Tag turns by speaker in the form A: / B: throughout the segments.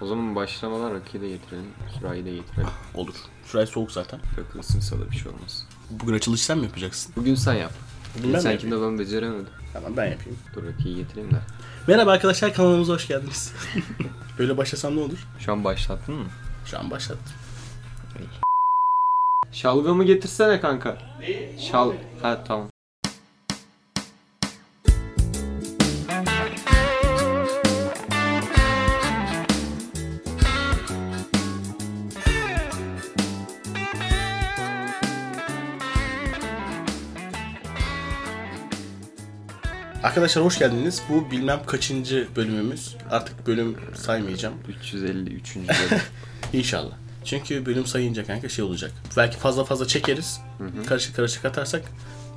A: O zaman başlamalar rakıyı da getirelim. Sürahiyı da getirelim.
B: Olur. Şurası soğuk zaten.
A: Takılsın sana bir şey olmaz.
B: Bugün açılış sen mi yapacaksın?
A: Bugün sen yap.
B: Bugün ben mi
A: Geçen
B: yapayım?
A: kimde ben beceremedim.
B: Tamam ben yapayım.
A: Dur rakıyı getireyim de.
B: Merhaba arkadaşlar kanalımıza hoş geldiniz. Böyle başlasam ne olur?
A: Şu an başlattın mı?
B: Şu an başlattım.
A: Şalgamı getirsene kanka. Neyi? Şal... Ha tamam.
B: Arkadaşlar hoş geldiniz. Bu bilmem kaçıncı bölümümüz. Artık bölüm saymayacağım.
A: 353. bölüm.
B: İnşallah. Çünkü bölüm sayınca kanka şey olacak. Belki fazla fazla çekeriz. Karışık karışık atarsak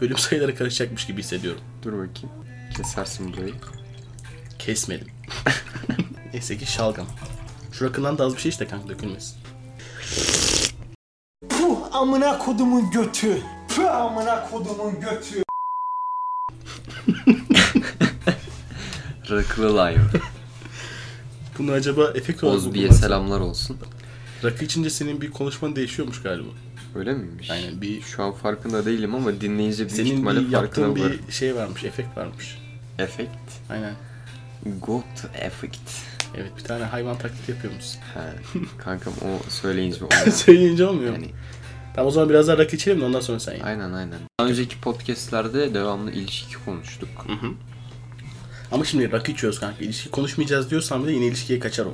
B: bölüm sayıları karışacakmış gibi hissediyorum.
A: Dur bakayım. Kesersin burayı.
B: Kesmedim. Neyse ki şalgam. Şu rakından da az bir şey işte kanka dökülmesin.
C: Puh amına kodumun götü. Puh amına kodumun götü.
A: Rakılı live.
B: Bunu acaba efekt olarak mı
A: Ozbi'ye
B: kullansak?
A: selamlar olsun.
B: Rakı içince senin bir konuşman değişiyormuş galiba.
A: Öyle miymiş?
B: Aynen, bir-
A: Şu an farkında değilim ama dinleyici büyük
B: Senin
A: ihtimalle
B: bir
A: farkına
B: yaptığın
A: varır.
B: bir şey varmış, efekt varmış.
A: Efekt.
B: Aynen.
A: Got effect.
B: Evet bir tane hayvan taklidi yapıyormuş.
A: Ha, kankam o söyleyince oluyor.
B: Söyleyince olmuyor mu?
A: Yani,
B: Tamam o zaman biraz daha rakı içelim de ondan sonra sen yap.
A: aynen aynen. Daha önceki podcastlerde devamlı ilişki konuştuk.
B: Ama şimdi rakı içiyoruz kanka. İlişki konuşmayacağız diyorsan bile yine ilişkiye kaçar o.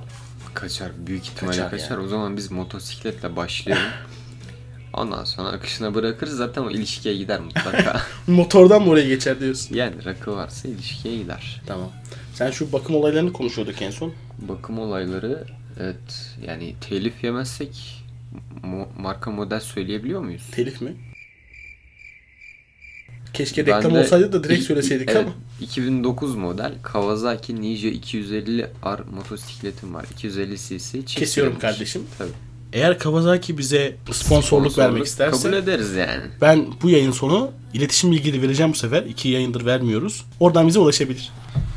A: Kaçar. Büyük ihtimalle
B: Kaçar
A: kaçar.
B: yani.
A: O zaman biz motosikletle başlayalım. Ondan sonra akışına bırakırız zaten o ilişkiye gider mutlaka.
B: Motordan mı oraya geçer diyorsun?
A: yani rakı varsa ilişkiye gider.
B: Tamam. Sen şu bakım olaylarını konuşuyorduk en son.
A: Bakım olayları evet yani telif yemezsek mo- marka model söyleyebiliyor muyuz?
B: Telif mi? Keşke
A: Ben
B: reklam
A: de-
B: olsaydı da direkt
A: İ-
B: söyleseydik
A: evet,
B: ama.
A: 2009 model Kawasaki Ninja 250 R motosikletim var. 250 cc çift
B: Kesiyorum
A: silindir.
B: kardeşim.
A: Tabii.
B: Eğer Kawasaki bize sponsorluk, vermek isterse
A: Kabul ederiz yani.
B: ben bu yayın sonu iletişim bilgileri vereceğim bu sefer. İki yayındır vermiyoruz. Oradan bize ulaşabilir.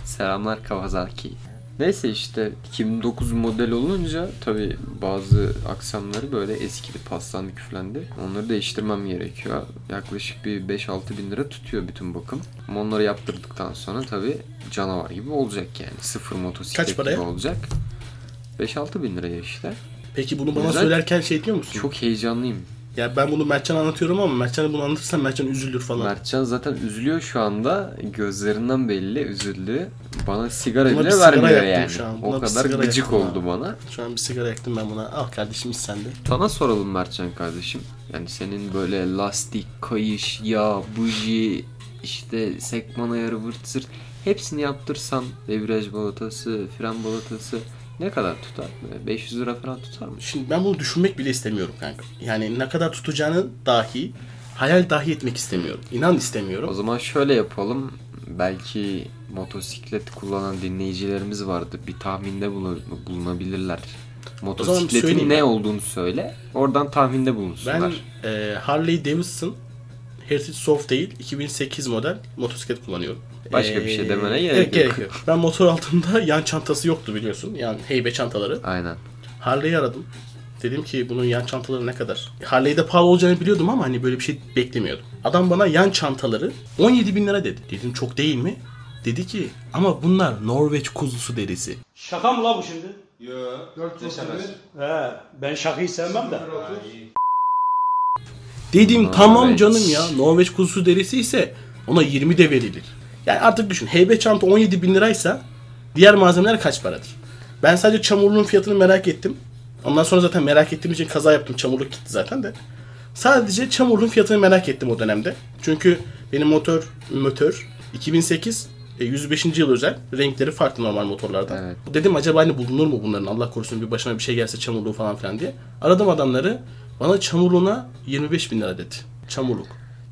A: Selamlar Kawasaki. Neyse işte 2009 model olunca tabi bazı aksamları böyle eskidi, paslandı, küflendi. Onları değiştirmem gerekiyor. Yaklaşık bir 5-6 bin lira tutuyor bütün bakım. Ama onları yaptırdıktan sonra tabi canavar gibi olacak yani. Sıfır motosiklet
B: Kaç paraya?
A: gibi olacak. 5-6 bin liraya işte.
B: Peki bunu bana
A: Güzel.
B: söylerken şey diyor musun?
A: Çok heyecanlıyım.
B: Ya ben bunu Mertcan'a anlatıyorum ama Mertcan'a bunu anlatırsam Mertcan üzülür falan.
A: Mertcan zaten üzülüyor şu anda. Gözlerinden belli üzüldü. Bana sigara
B: Buna bir
A: bile
B: sigara
A: vermiyor
B: yaktım
A: yani.
B: şu an. Buna
A: O
B: bir
A: kadar
B: sigara
A: gıcık
B: yaktım
A: oldu
B: ha.
A: bana.
B: Şu an bir sigara yaktım ben buna. Al kardeşim iç sen de.
A: Sana soralım Mertcan kardeşim. Yani senin böyle lastik, kayış, yağ, buji, işte sekman ayarı, vırt zırt hepsini yaptırsan debriyaj balatası, fren balatası ne kadar tutar? Böyle 500 lira falan tutar mı?
B: Şimdi ben bunu düşünmek bile istemiyorum kanka. Yani ne kadar tutacağını dahi hayal dahi etmek istemiyorum. İnan
A: O
B: istemiyorum.
A: zaman şöyle yapalım. Belki motosiklet kullanan dinleyicilerimiz vardı. Bir tahminde bulu- bulunabilirler. Motosikletin
B: söyleyeyim ben.
A: ne olduğunu söyle. Oradan tahminde
B: Ben
A: bulunsunlar.
B: e, Harley Davidson Heritage Soft değil 2008 model motosiklet kullanıyorum.
A: Başka bir şey demene gerek yok.
B: Ben motor altında yan çantası yoktu biliyorsun. Yani heybe çantaları.
A: Aynen.
B: Harley'i aradım. Dedim ki bunun yan çantaları ne kadar? Harley'de pahalı olacağını biliyordum ama hani böyle bir şey beklemiyordum. Adam bana yan çantaları 17 bin lira dedi. Dedim çok değil mi? Dedi ki ama bunlar Norveç kuzusu derisi.
C: Şaka mı la bu şimdi?
D: Ne seversin?
C: He ben şakayı sevmem de.
B: Dedim
A: Norveç.
B: tamam canım ya Norveç kuzusu derisi ise ona 20 de verilir. Yani artık düşün heybe çanta 17 bin liraysa diğer malzemeler kaç paradır? Ben sadece çamurluğun fiyatını merak ettim. Ondan sonra zaten merak ettiğim için kaza yaptım. Çamurluk gitti zaten de. Sadece çamurluğun fiyatını merak ettim o dönemde. Çünkü benim motor motor 2008 e, 105. yıl özel. Renkleri farklı normal motorlardan.
A: Evet.
B: Dedim acaba hani bulunur mu bunların Allah korusun bir başıma bir şey gelse çamurluğu falan filan diye. Aradım adamları. Bana çamurluğuna 25 bin lira dedi. Çamurluk.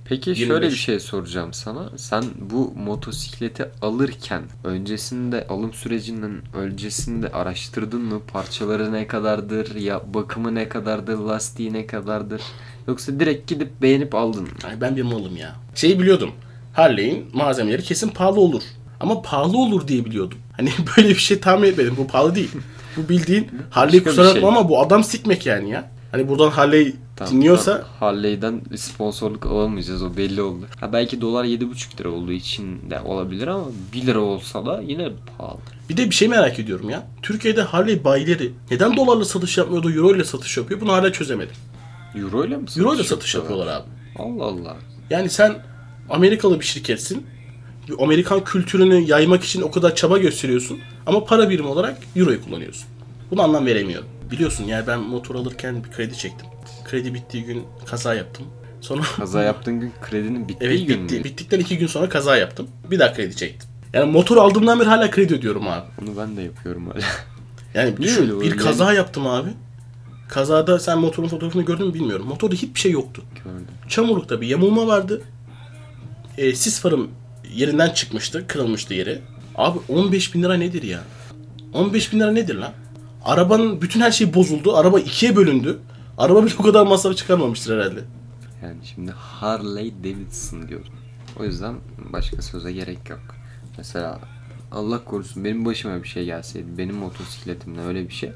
A: Peki
B: 25.
A: şöyle bir şey soracağım sana. Sen bu motosikleti alırken öncesinde alım sürecinin öncesinde araştırdın mı? Parçaları ne kadardır? Ya bakımı ne kadardır? Lastiği ne kadardır? Yoksa direkt gidip beğenip aldın mı?
B: Ay ben bir malım ya. Şeyi biliyordum. Harley'in malzemeleri kesin pahalı olur. Ama pahalı olur diye biliyordum. Hani böyle bir şey tahmin etmedim. Bu pahalı değil. Bu bildiğin Harley
A: Başka bir
B: kusura
A: şey.
B: bakma ama bu adam sikmek yani ya. Hani buradan Harley
A: Tamam,
B: dinliyorsa
A: tamam. Harley'den sponsorluk alamayacağız o belli oldu. Ha belki dolar 7,5 lira olduğu için de olabilir ama 1 lira olsa da yine pahalı.
B: Bir de bir şey merak ediyorum ya. Türkiye'de Harley bayileri neden dolarla satış yapmıyor da euro ile satış yapıyor? Bunu hala çözemedim.
A: Euro ile mi satış
B: Euro ile satış yapıyorlar abi.
A: Allah Allah.
B: Yani sen Amerikalı bir şirketsin. Bir Amerikan kültürünü yaymak için o kadar çaba gösteriyorsun. Ama para birimi olarak euroyu kullanıyorsun. Bunu anlam veremiyorum. Biliyorsun yani ben motor alırken bir kredi çektim. Kredi bittiği gün kaza yaptım. Sonra
A: Kaza yaptığın gün kredinin bittiği
B: evet
A: gün
B: bitti.
A: mü?
B: Bittikten iki gün sonra kaza yaptım. Bir daha kredi çektim. Yani motor aldığımdan beri hala kredi ödüyorum abi.
A: Onu ben de yapıyorum hala.
B: Yani
A: Niye
B: düşün,
A: öyle oluyor?
B: bir kaza yaptım abi. Kazada sen motorun fotoğrafını gördün mü bilmiyorum. Motorda hiçbir şey yoktu.
A: Gördüm.
B: Çamurlukta bir yamulma vardı. E, sis farım yerinden çıkmıştı. Kırılmıştı yeri. Abi 15 bin lira nedir ya? 15 bin lira nedir lan? Arabanın bütün her şeyi bozuldu. Araba ikiye bölündü. Araba bile o kadar masraf çıkarmamıştır herhalde.
A: Yani şimdi Harley Davidson diyorum. O yüzden başka söze gerek yok. Mesela Allah korusun benim başıma bir şey gelseydi benim motosikletimle öyle bir şey.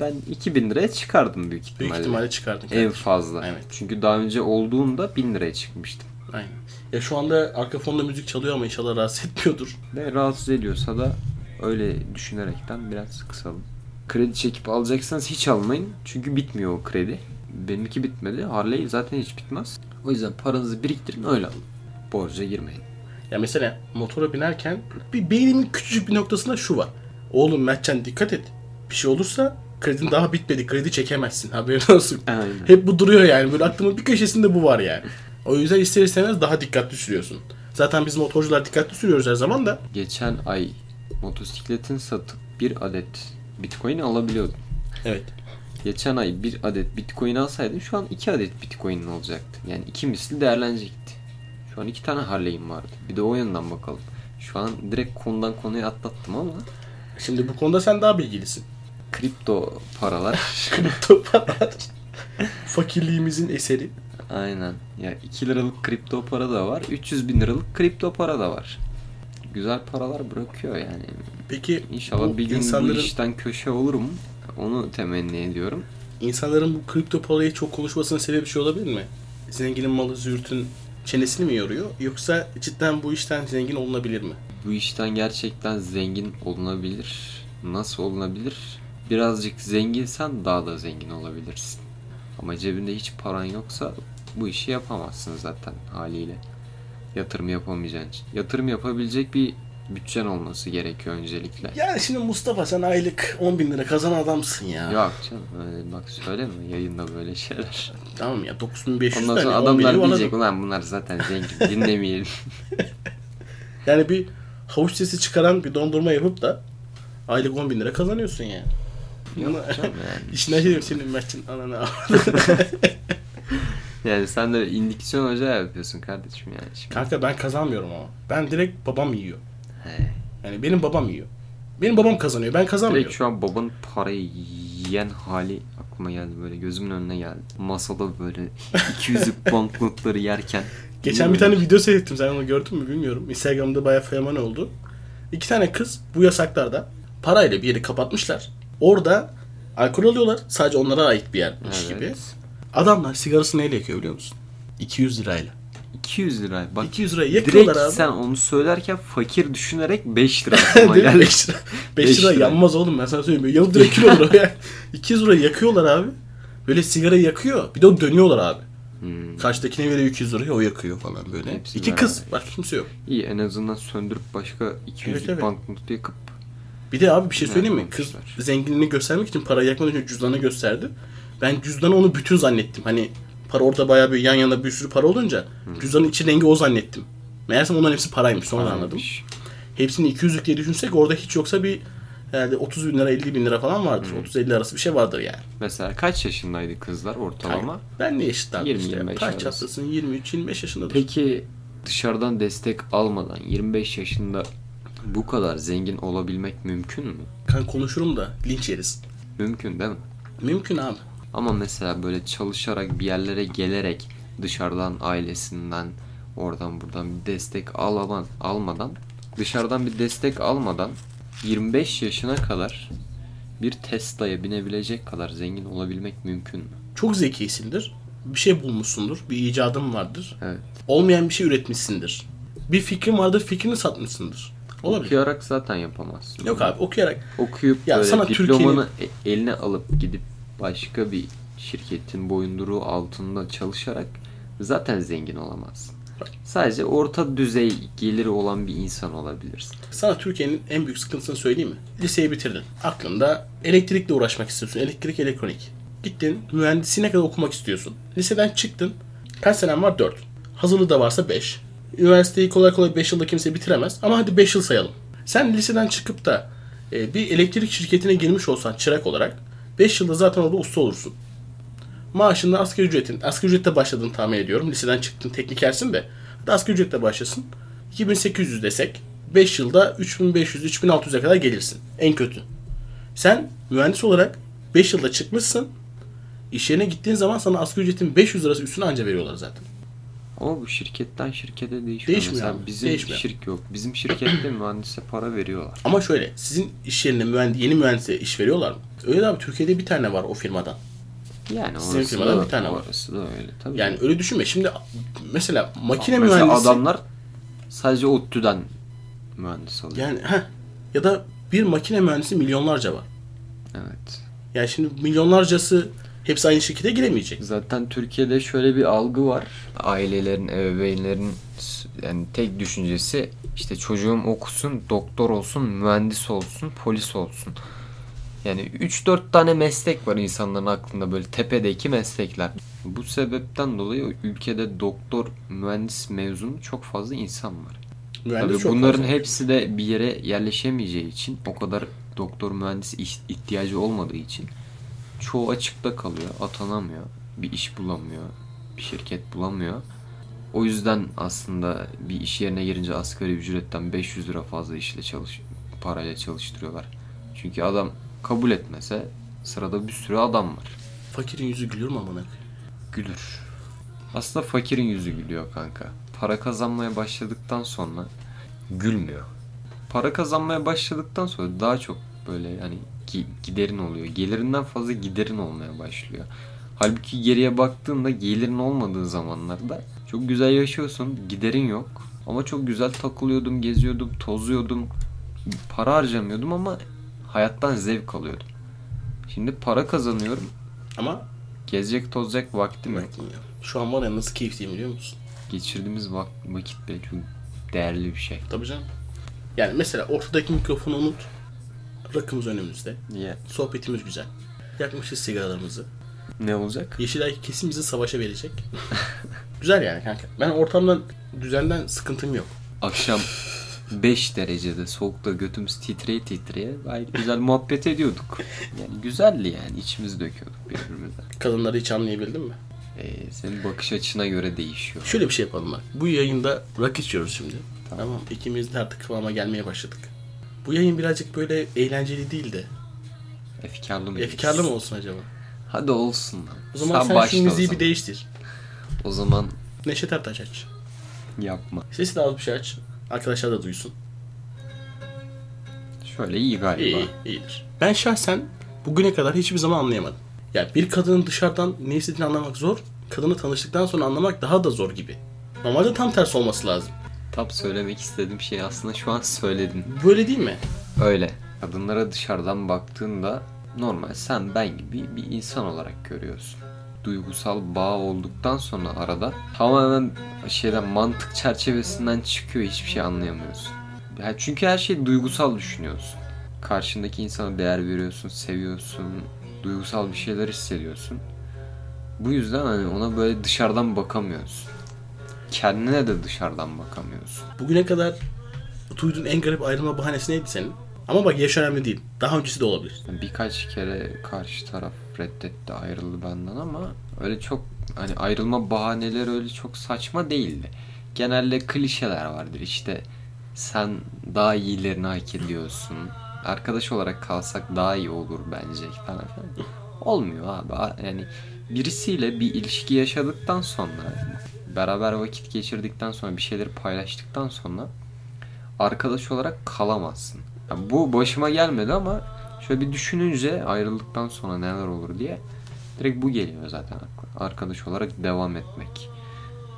A: Ben 2000 liraya çıkardım büyük ihtimalle.
B: Büyük ihtimalle çıkardın.
A: En fazla.
B: Evet.
A: Çünkü daha önce olduğumda 1000 liraya çıkmıştım.
B: Aynen. Ya şu anda arka fonda müzik çalıyor ama inşallah rahatsız etmiyordur.
A: Ve rahatsız ediyorsa da öyle düşünerekten biraz kısalım. Kredi çekip alacaksanız hiç almayın. Çünkü bitmiyor o kredi. Benimki bitmedi. Harley zaten hiç bitmez. O yüzden paranızı biriktirin öyle alın. Borca girmeyin.
B: Ya mesela motora binerken bir beynimin küçücük bir noktasında şu var. Oğlum Mertcan dikkat et. Bir şey olursa kredin daha bitmedi. Kredi çekemezsin. Haberin olsun.
A: Aynen.
B: Hep bu duruyor yani. Böyle aklımın bir köşesinde bu var yani. O yüzden ister istemez daha dikkatli sürüyorsun. Zaten biz motorcular dikkatli sürüyoruz her zaman da.
A: Geçen ay motosikletin satıp bir adet bitcoin alabiliyordum.
B: Evet.
A: Geçen ay bir adet bitcoin alsaydım şu an iki adet bitcoin olacaktı. Yani iki misli değerlenecekti. Şu an iki tane Harley'im vardı. Bir de o yandan bakalım. Şu an direkt konudan konuya atlattım ama
B: Şimdi bu konuda sen daha bilgilisin.
A: kripto paralar.
B: Toparlar. Fakirliğimizin eseri.
A: Aynen. Ya 2 liralık kripto para da var. 300 bin liralık kripto para da var. Güzel paralar bırakıyor yani.
B: Peki
A: İnşallah
B: bu
A: bir gün
B: insanların,
A: bu işten köşe olurum. Onu temenni ediyorum.
B: insanların bu kripto parayı çok konuşmasının sebebi şey olabilir mi? Zenginin malı züğürtün çenesini mi yoruyor? Yoksa cidden bu işten zengin olunabilir mi?
A: Bu işten gerçekten zengin olunabilir. Nasıl olunabilir? Birazcık zenginsen daha da zengin olabilirsin. Ama cebinde hiç paran yoksa bu işi yapamazsın zaten haliyle. Yatırım yapamayacaksın. Yatırım yapabilecek bir bütçen olması gerekiyor öncelikle.
B: Yani şimdi Mustafa sen aylık 10 bin lira kazanan adamsın ya.
A: Yok canım öyle bak söyleme yayında böyle şeyler.
B: Tamam ya 9500
A: Ondan
B: lira
A: sonra
B: hani 10 bini
A: adamlar
B: bana-
A: diyecek ulan bunlar zaten zengin dinlemeyelim.
B: Yani bir havuç sesi çıkaran bir dondurma yapıp da aylık 10 bin lira kazanıyorsun yani.
A: Yok canım yani.
B: İşine şey diyorum senin Mert'in ananı al.
A: Yani sen de indiksiyon hoca yapıyorsun kardeşim yani. Şimdi.
B: Kanka ben kazanmıyorum ama. Ben direkt babam yiyor.
A: He.
B: Yani benim babam yiyor. Benim babam kazanıyor ben kazanmıyorum.
A: Direkt şu an babanın parayı yiyen hali aklıma geldi böyle gözümün önüne geldi. Masada böyle 200'lük banknotları yerken.
B: Geçen bir tane video seyrettim. Sen onu gördün mü bilmiyorum. Instagram'da bayağı fenomen oldu. İki tane kız bu yasaklarda parayla bir yeri kapatmışlar. Orada alkol alıyorlar. Sadece onlara ait bir yermiş
A: Evet.
B: gibi. Adamlar sigarasını neyle yakıyor biliyor musun? 200 lirayla.
A: 200 lira. Bak
B: 200 lirayı
A: direkt
B: yakıyorlar abi.
A: sen onu söylerken fakir düşünerek 5 lira aklıma
B: Değil mi?
A: geldi.
B: 5 lira. 5
A: Beş
B: lira
A: lira.
B: yanmaz oğlum ben sana söyleyeyim. Yanıp direkt kül olur o ya. 200 lira yakıyorlar abi. Böyle sigara yakıyor. Bir de o dönüyorlar abi.
A: Hmm.
B: Karşıdakine veriyor 200 lirayı o yakıyor falan böyle.
A: Hepsi
B: İki
A: beraber
B: kız. Başka kimse yok.
A: İyi en azından söndürüp başka 200'lük
B: Evet, evet.
A: banknotu yakıp
B: Bir de abi bir şey söyleyeyim mi?
A: Evet,
B: Kız
A: yapmışlar.
B: zenginliğini göstermek için parayı yakmadan önce cüzdanı gösterdi. Ben cüzdanı onu bütün zannettim. Hani para orada bayağı bir yan yana bir sürü para olunca cüzdanın içi rengi o zannettim. Meğersem onların hepsi paraymış. Sonra anladım.
A: Varmış.
B: Hepsini 200'lük diye düşünsek orada hiç yoksa bir herhalde 30 bin lira 50 bin lira falan vardır.
A: Hmm.
B: 30-50 arası bir şey vardır yani.
A: Mesela kaç yaşındaydı kızlar ortalama?
B: Ben ne eşit abi
A: 20,
B: işte.
A: 25
B: Kaç
A: arası.
B: çatlasın 23-25 yaşındadır.
A: Peki dışarıdan destek almadan 25 yaşında bu kadar zengin olabilmek mümkün mü?
B: Kan konuşurum da linç yeriz.
A: Mümkün değil mi?
B: Mümkün abi.
A: Ama mesela böyle çalışarak bir yerlere gelerek dışarıdan ailesinden oradan buradan bir destek alaman, almadan dışarıdan bir destek almadan 25 yaşına kadar bir Tesla'ya binebilecek kadar zengin olabilmek mümkün mü?
B: Çok zekisindir. Bir şey bulmuşsundur. Bir icadın vardır.
A: Evet.
B: Olmayan bir şey üretmişsindir. Bir fikrin vardır. Fikrini satmışsındır. Olabilir.
A: Okuyarak zaten yapamazsın.
B: Yok abi okuyarak.
A: Okuyup
B: Ya
A: böyle
B: sana
A: diplomanı e- eline alıp gidip başka bir şirketin boyunduruğu altında çalışarak zaten zengin olamazsın. Sadece orta düzey geliri olan bir insan olabilirsin.
B: Sana Türkiye'nin en büyük sıkıntısını söyleyeyim mi? Liseyi bitirdin. Aklında elektrikle uğraşmak istiyorsun. Elektrik, elektronik. Gittin mühendisliğine kadar okumak istiyorsun. Liseden çıktın. Kaç senen var? 4. Hazırlığı da varsa 5. Üniversiteyi kolay kolay 5 yılda kimse bitiremez. Ama hadi 5 yıl sayalım. Sen liseden çıkıp da e, bir elektrik şirketine girmiş olsan çırak olarak 5 yılda zaten orada usta olursun. Maaşında asgari ücretin. Asgari ücretle başladığını tahmin ediyorum. Liseden çıktın teknikersin de. Hadi asgari ücretle başlasın. 2800 desek 5 yılda 3500-3600'e kadar gelirsin. En kötü. Sen mühendis olarak 5 yılda çıkmışsın. İş yerine gittiğin zaman sana asgari ücretin 500 lirası üstüne anca veriyorlar zaten.
A: Ama bu şirketten şirkete değişiyor.
B: Değişmiyor
A: Mesela
B: abi,
A: bizim
B: değişmiyor.
A: şirk yok. Bizim şirkette mühendise para veriyorlar.
B: Ama şöyle sizin iş yerine mühend yeni mühendise iş veriyorlar mı? Öyle de abi Türkiye'de bir tane var o firmadan.
A: Yani
B: Sizin
A: orası
B: firmada
A: da,
B: bir tane var.
A: orası da öyle tabii.
B: Yani öyle düşünme. Şimdi mesela makine
A: Mesela
B: mühendisi...
A: adamlar sadece ODTÜ'den mühendis oluyor.
B: Yani heh, ya da bir makine mühendisi milyonlarca var.
A: Evet.
B: Yani şimdi milyonlarcası hepsi aynı şirkete giremeyecek.
A: Zaten Türkiye'de şöyle bir algı var. Ailelerin, ebeveynlerin s- yani tek düşüncesi işte çocuğum okusun, doktor olsun, mühendis olsun, polis olsun. Yani 3-4 tane meslek var insanların aklında böyle tepedeki meslekler. Bu sebepten dolayı ülkede doktor, mühendis mezunu çok fazla insan var.
B: Mühendis
A: Tabii
B: çok
A: bunların
B: fazla.
A: hepsi de bir yere yerleşemeyeceği için o kadar doktor mühendis iş- ihtiyacı olmadığı için çoğu açıkta kalıyor, atanamıyor, bir iş bulamıyor, bir şirket bulamıyor. O yüzden aslında bir iş yerine girince asgari ücretten 500 lira fazla işle çalış parayla çalıştırıyorlar. Çünkü adam kabul etmese sırada bir sürü adam var.
B: Fakirin yüzü gülür mü amına koyayım?
A: Gülür. Aslında fakirin yüzü gülüyor kanka. Para kazanmaya başladıktan sonra gülmüyor. Para kazanmaya başladıktan sonra daha çok böyle yani gi- giderin oluyor. Gelirinden fazla giderin olmaya başlıyor. Halbuki geriye baktığında gelirin olmadığı zamanlarda çok güzel yaşıyorsun, giderin yok. Ama çok güzel takılıyordum, geziyordum, tozuyordum. Para harcamıyordum ama hayattan zevk alıyordum. Şimdi para kazanıyorum,
B: Ama
A: gezecek tozacak vaktim yok.
B: şu an var ya nasıl keyifliyim biliyor musun?
A: geçirdiğimiz vak- vakit bile çok değerli bir şey.
B: Tabii canım. Yani mesela ortadaki mikrofonu unut. Rakımız önümüzde. Sohbetimiz güzel. Yakmışız sigaralarımızı.
A: Ne olacak?
B: Yeşilay kesin bizi savaşa verecek. güzel yani kanka. Ben ortamdan, düzenden sıkıntım yok.
A: Akşam 5 derecede soğukta götümüz titreye titreye gayet güzel muhabbet ediyorduk. Yani güzeldi yani içimiz döküyorduk birbirimize.
B: Kadınları hiç anlayabildin mi?
A: Ee, senin bakış açına göre değişiyor.
B: Şöyle bir şey yapalım bak. Bu yayında rak içiyoruz şimdi. Tamam. İkimiz de artık kıvama gelmeye başladık. Bu yayın birazcık böyle eğlenceli değil de.
A: Efkarlı mı?
B: Efkarlı mı olsun acaba?
A: Hadi olsun lan.
B: O zaman sen,
A: başla
B: şu
A: o
B: müziği
A: zaman.
B: bir değiştir.
A: O zaman
B: Neşet Ertaş aç.
A: yapma.
B: Sesi de az bir şey aç. Arkadaşlar da duysun.
A: Şöyle iyi galiba.
B: İyi, iyi, iyidir. Ben şahsen bugüne kadar hiçbir zaman anlayamadım. Ya bir kadının dışarıdan ne istediğini anlamak zor. Kadını tanıştıktan sonra anlamak daha da zor gibi. Normalde tam tersi olması lazım.
A: Tam söylemek istediğim şey aslında şu an söyledin.
B: Böyle değil mi?
A: Öyle. Kadınlara dışarıdan baktığında normal sen ben gibi bir insan olarak görüyorsun. Duygusal bağ olduktan sonra arada tamamen şeyden mantık çerçevesinden çıkıyor hiçbir şey anlayamıyorsun. Ya çünkü her şeyi duygusal düşünüyorsun. Karşındaki insana değer veriyorsun, seviyorsun, duygusal bir şeyler hissediyorsun. Bu yüzden hani ona böyle dışarıdan bakamıyorsun. Kendine de dışarıdan bakamıyorsun.
B: Bugüne kadar duyduğun en garip ayrılma bahanesi neydi senin? Ama bak yaş önemli değil. Daha öncesi de olabilir.
A: Birkaç kere karşı taraf reddetti ayrıldı benden ama öyle çok hani ayrılma bahaneleri öyle çok saçma değildi. Genelde klişeler vardır işte sen daha iyilerini hak ediyorsun. Arkadaş olarak kalsak daha iyi olur bence falan filan. Olmuyor abi A- yani birisiyle bir ilişki yaşadıktan sonra beraber vakit geçirdikten sonra bir şeyleri paylaştıktan sonra arkadaş olarak kalamazsın. Ya bu başıma gelmedi ama şöyle bir düşününce ayrıldıktan sonra neler olur diye direkt bu geliyor zaten akla. Arkadaş olarak devam etmek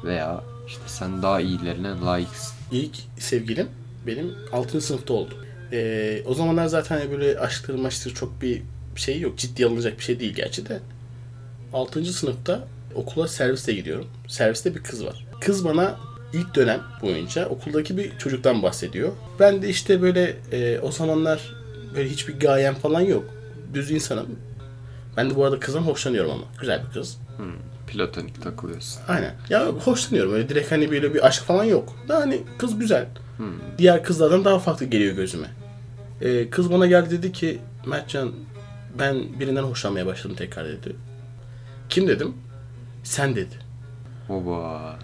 A: veya işte sen daha iyilerine layıksın.
B: İlk sevgilim benim 6. sınıfta oldu. Ee, o zamanlar zaten böyle aşktır maçtır çok bir şey yok. Ciddi alınacak bir şey değil gerçi de. 6. sınıfta okula servisle gidiyorum. Serviste bir kız var. Kız bana ilk dönem boyunca okuldaki bir çocuktan bahsediyor. Ben de işte böyle e, o zamanlar böyle hiçbir gayem falan yok. Düz insanım. Ben de bu arada kızdan hoşlanıyorum ama. Güzel bir kız.
A: Platonik takılıyorsun.
B: Aynen. Ya hoşlanıyorum. Öyle direkt hani böyle bir aşk falan yok. Da hani kız güzel. Diğer kızlardan daha farklı geliyor gözüme. Ee, kız bana geldi dedi ki Mertcan ben birinden hoşlanmaya başladım tekrar dedi. Kim dedim? Sen dedi.
A: Oba.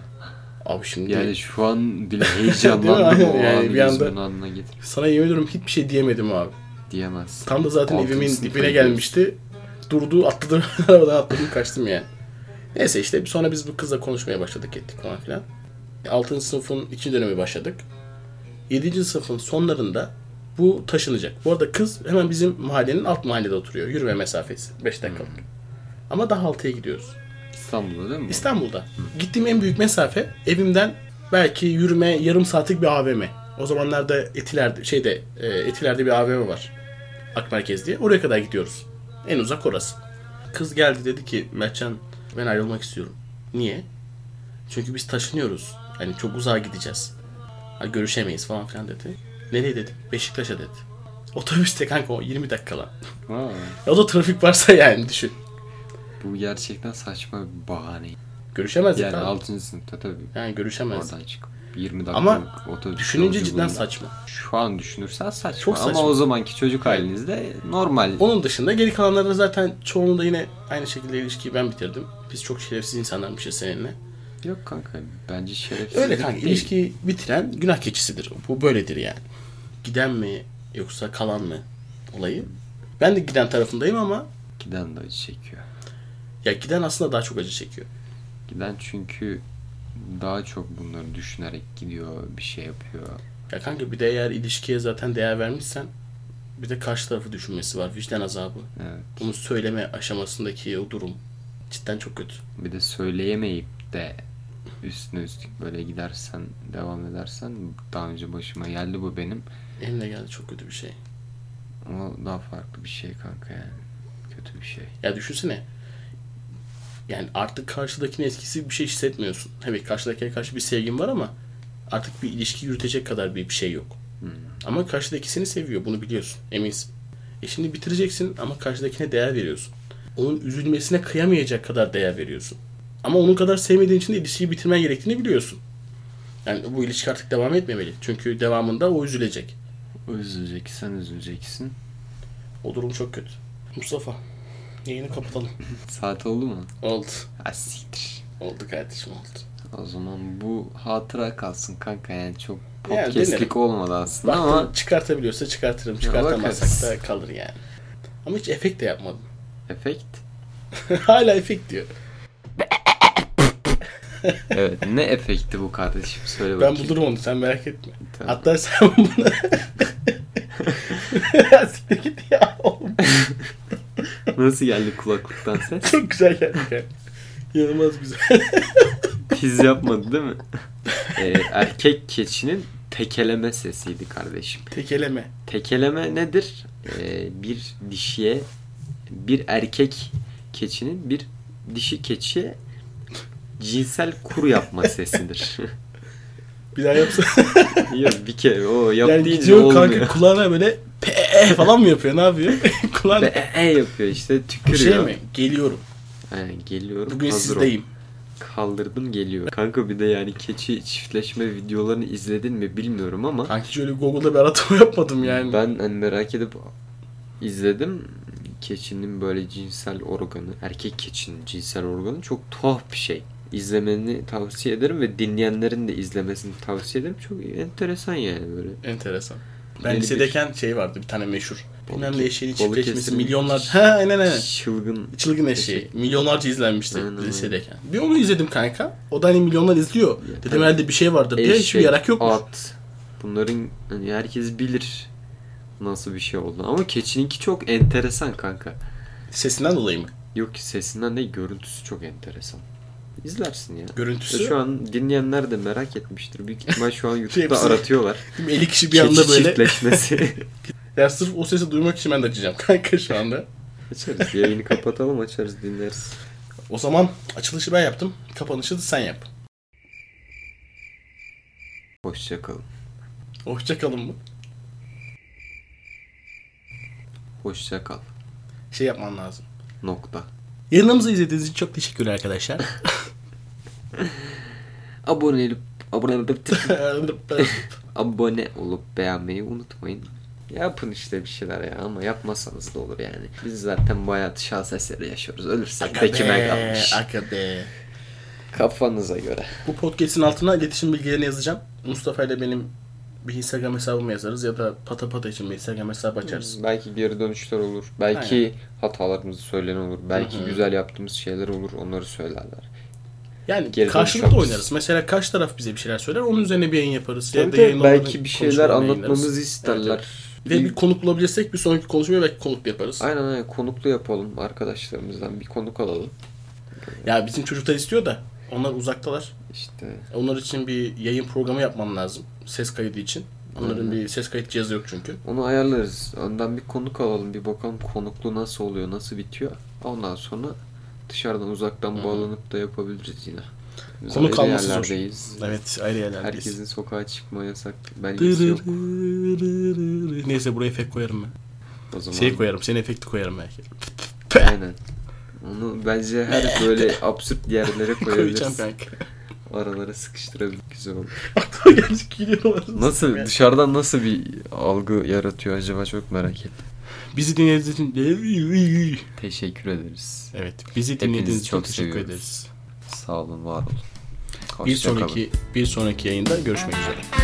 B: Abi şimdi
A: Yani şu an bile
B: Değil
A: heyecanlandım
B: mi?
A: o
B: Yani
A: anı
B: bir anda-
A: gözümün önüne getir
B: sana yemin ediyorum hiçbir şey diyemedim abi.
A: diyemezsin.
B: Tam da zaten
A: Altıncı
B: evimin
A: sınıfa
B: dibine
A: gidiyorsun.
B: gelmişti. Durdu atladı. Arabadan atladım kaçtım yani. Neyse işte sonra biz bu kızla konuşmaya başladık ettik falan filan. 6. sınıfın 2. dönemi başladık. 7. sınıfın sonlarında bu taşınacak. Bu arada kız hemen bizim mahallenin alt mahallede oturuyor. Yürüme mesafesi. 5 dakikalık. Ama daha altıya gidiyoruz.
A: İstanbul'da değil mi? bu?
B: İstanbul'da. Gittiğim en büyük mesafe evimden belki yürüme yarım saatlik bir AVM. O zamanlarda Etiler'de şeyde e, Etiler'de bir AVM var. Akmerkez diye. Oraya kadar gidiyoruz. En uzak orası. Kız geldi dedi ki Mertcan ben ayrılmak istiyorum. Niye? Çünkü biz taşınıyoruz. Hani çok uzağa gideceğiz. Ha, görüşemeyiz falan filan dedi. Nereye dedi? Beşiktaş'a dedi. Otobüste kanka o 20 dakika lan.
A: Vay.
B: Ya da trafik varsa yani düşün.
A: Bu gerçekten saçma bir bahane.
B: Görüşemezdik
A: Yani
B: abi.
A: 6. sınıfta tabii
B: Yani görüşemezdik.
A: oradan çıkıp 20 dakikalık
B: Ama
A: otobüs
B: Düşününce cidden
A: yolculuğuna-
B: saçma.
A: Şu an düşünürsen saçma.
B: Çok saçma.
A: Ama o zamanki çocuk halinizde normal.
B: Onun dışında geri kalanlarında zaten çoğunluğunda yine aynı şekilde ilişkiyi ben bitirdim. Biz çok şerefsiz insanlarmışız seninle.
A: Yok kanka bence şerefsiz.
B: Öyle kanka ilişkiyi bitiren günah keçisidir. Bu böyledir yani. Giden mi yoksa kalan mı olayı. Ben de giden tarafındayım ama
A: Giden de acı çekiyor.
B: ya giden aslında daha çok acı çekiyor.
A: Giden çünkü daha çok bunları düşünerek gidiyor, bir şey yapıyor.
B: Ya kanka bir de eğer ilişkiye zaten değer vermişsen bir de karşı tarafı düşünmesi var. Vicdan azabı.
A: Evet.
B: Bunu söyleme aşamasındaki o durum cidden çok kötü.
A: Bir de söyleyemeyip de üstüne üstlük böyle gidersen, devam edersen daha önce başıma geldi bu benim.
B: Elimle geldi çok kötü bir şey.
A: Ama daha farklı bir şey kanka yani. Kötü bir şey.
B: Ya düşünsene. Yani artık karşıdakinin etkisi bir şey hissetmiyorsun. Evet karşıdakiye karşı bir sevgin var ama artık bir ilişki yürütecek kadar bir, bir şey yok. Ama karşıdaki seni seviyor. Bunu biliyorsun. Eminsin. E şimdi bitireceksin ama karşıdakine değer veriyorsun. Onun üzülmesine kıyamayacak kadar değer veriyorsun. Ama onun kadar sevmediğin için de ilişkiyi bitirmen gerektiğini biliyorsun. Yani bu ilişki artık devam etmemeli. Çünkü devamında o üzülecek.
A: Üzülecek, sen üzüleceksin.
B: O durum çok kötü. Mustafa yayını kapatalım.
A: Saat oldu mu?
B: Oldu.
A: Ha siktir.
B: Oldu kardeşim oldu.
A: O zaman bu hatıra kalsın kanka yani çok
B: Yani
A: podcastlik
B: dinlerim.
A: olmadı aslında
B: Baktım
A: ama
B: çıkartabiliyorsa çıkartırım.
A: bakarız.
B: Çıkartamazsak da kalır yani. Ama hiç efekt de yapmadım.
A: efekt.
B: Hala efekt diyor.
A: Evet ne efekti bu kardeşim söyle
B: Ben
A: bakayım.
B: bulurum onu sen merak etme.
A: Tamam.
B: Hatta sen bunu... Siktir git ya oğlum.
A: Nasıl geldi kulaklıktan ses?
B: Çok güzel geldi ya. İnanılmaz güzel.
A: Tiz yapmadı değil mi? Ee, erkek keçinin tekeleme sesiydi kardeşim.
B: Tekeleme.
A: Tekeleme nedir? Ee, bir dişiye bir erkek keçinin bir dişi keçiye cinsel kur yapma sesidir.
B: Bir daha yapsana.
A: Yok bir kere o yap
B: yani
A: deyince
B: gidiyor
A: olmuyor.
B: kanka kulağına böyle pe falan mı yapıyor ne yapıyor? Kulağına
A: Ve e, e yapıyor işte
B: Bu
A: tükürüyor.
B: şey mi? Geliyorum.
A: Aynen, geliyorum.
B: Bugün
A: hazır ol.
B: sizdeyim.
A: Kaldırdım geliyor. Kanka bir de yani keçi çiftleşme videolarını izledin mi bilmiyorum ama
B: Kanka hiç öyle Google'da bir aratma yapmadım yani.
A: ben hani merak edip izledim. Keçinin böyle cinsel organı, erkek keçinin cinsel organı çok tuhaf bir şey. İzlemeni tavsiye ederim ve dinleyenlerin de izlemesini tavsiye ederim. Çok enteresan yani böyle.
B: Enteresan.
A: Yeni
B: Ben
A: bir-
B: lisedeyken şey vardı bir tane meşhur. Bilmem ne
A: Balıke-
B: eşeğinin
A: Balıkesir'in
B: çiftleşmesi milyonlar. Ha aynen aynen.
A: Çılgın
B: Çılgın eşeği. Milyonlarca izlenmişti
A: Aynen, aynen.
B: lisedeyken. Bir onu izledim kanka. O da hani milyonlar izliyor. Dedim
A: tabii.
B: herhalde bir şey vardır diye hiçbir yarak yokmuş.
A: at, Bunların hani herkes bilir nasıl bir şey oldu. Ama keçininki çok enteresan kanka.
B: Sesinden dolayı mı?
A: Yok ki sesinden değil görüntüsü çok enteresan. İzlersin ya.
B: Görüntüsü.
A: Şu an dinleyenler de merak etmiştir. Büyük ihtimal şu an YouTube'da
B: Hepsi
A: aratıyorlar.
B: 50 kişi bir
A: Keçi
B: anda böyle.
A: çiftleşmesi.
B: Ya sırf o sesi duymak için ben de açacağım kanka şu anda.
A: açarız. Yayını kapatalım açarız dinleriz.
B: O zaman açılışı ben yaptım. Kapanışı da sen yap.
A: Hoşçakalın.
B: Hoşçakalın mı?
A: Hoşçakal.
B: Şey yapman lazım.
A: Nokta.
B: Yayınımızı izlediğiniz için çok teşekkürler arkadaşlar.
A: Abone olup abone olup abone olup beğenmeyi unutmayın. Yapın işte bir şeyler ya ama yapmasanız da olur yani. Biz zaten bu hayatı şans eseri yaşıyoruz. Ölürsek de kime kalmış.
B: Akabe.
A: Kafanıza göre.
B: Bu podcast'in altına iletişim bilgilerini yazacağım. Mustafa ile benim bir Instagram hesabımı yazarız ya da pata pata için bir Instagram hesabı açarız.
A: Belki geri dönüşler olur. Belki hatalarımızı söyleyen olur. Belki güzel yaptığımız şeyler olur. Onları söylerler.
B: Yani
A: Geri
B: karşılıklı
A: dönüş yaparız.
B: oynarız. Mesela karşı taraf bize bir şeyler söyler onun üzerine bir yayın yaparız.
A: Tabii
B: ya da
A: tabii,
B: yayın
A: belki
B: onların
A: bir şeyler
B: konuşmalarını yayınlarız.
A: anlatmamızı isterler.
B: Evet, evet. Ve bir konuk bulabilirsek bir sonraki konuşmayı belki konuk yaparız.
A: Aynen aynen konuklu yapalım arkadaşlarımızdan bir konuk alalım.
B: Ya bizim çocuklar istiyor da onlar uzaktalar.
A: İşte
B: Onlar için bir yayın programı yapmam lazım. Ses kaydı için. Onların bir ses kayıt cihazı yok çünkü.
A: onu ayarlarız. Ondan bir konuk alalım bir bakalım konuklu nasıl oluyor nasıl bitiyor. Ondan sonra dışarıdan uzaktan bağlanıp da yapabiliriz yine. Biz
B: Konuk
A: ayrı
B: alması zor.
A: yerlerdeyiz.
B: Evet ayrı yerlerdeyiz.
A: Herkesin sokağa çıkma yasak. Ben ilgisi yok.
B: Dırırırırırı. Neyse buraya efekt koyarım ben.
A: O zaman
B: Şey koyarım, senin efekti koyarım belki.
A: Aynen. Onu bence her böyle absürt yerlere
B: Koyacağım
A: koyabiliriz.
B: kanka.
A: Aralara sıkıştırabilir güzel olur.
B: Aklıma geldi gülüyorum.
A: Nasıl
B: Yani.
A: dışarıdan nasıl bir algı yaratıyor acaba çok merak ettim.
B: Bizi dinlediğiniz için...
A: Teşekkür ederiz.
B: Evet, bizi dinlediğiniz
A: Hepinizi
B: için
A: çok
B: teşekkür
A: seviyoruz.
B: ederiz.
A: Sağ olun, var olun.
B: Bir
A: Hoşça kalın.
B: sonraki, bir sonraki yayında görüşmek üzere.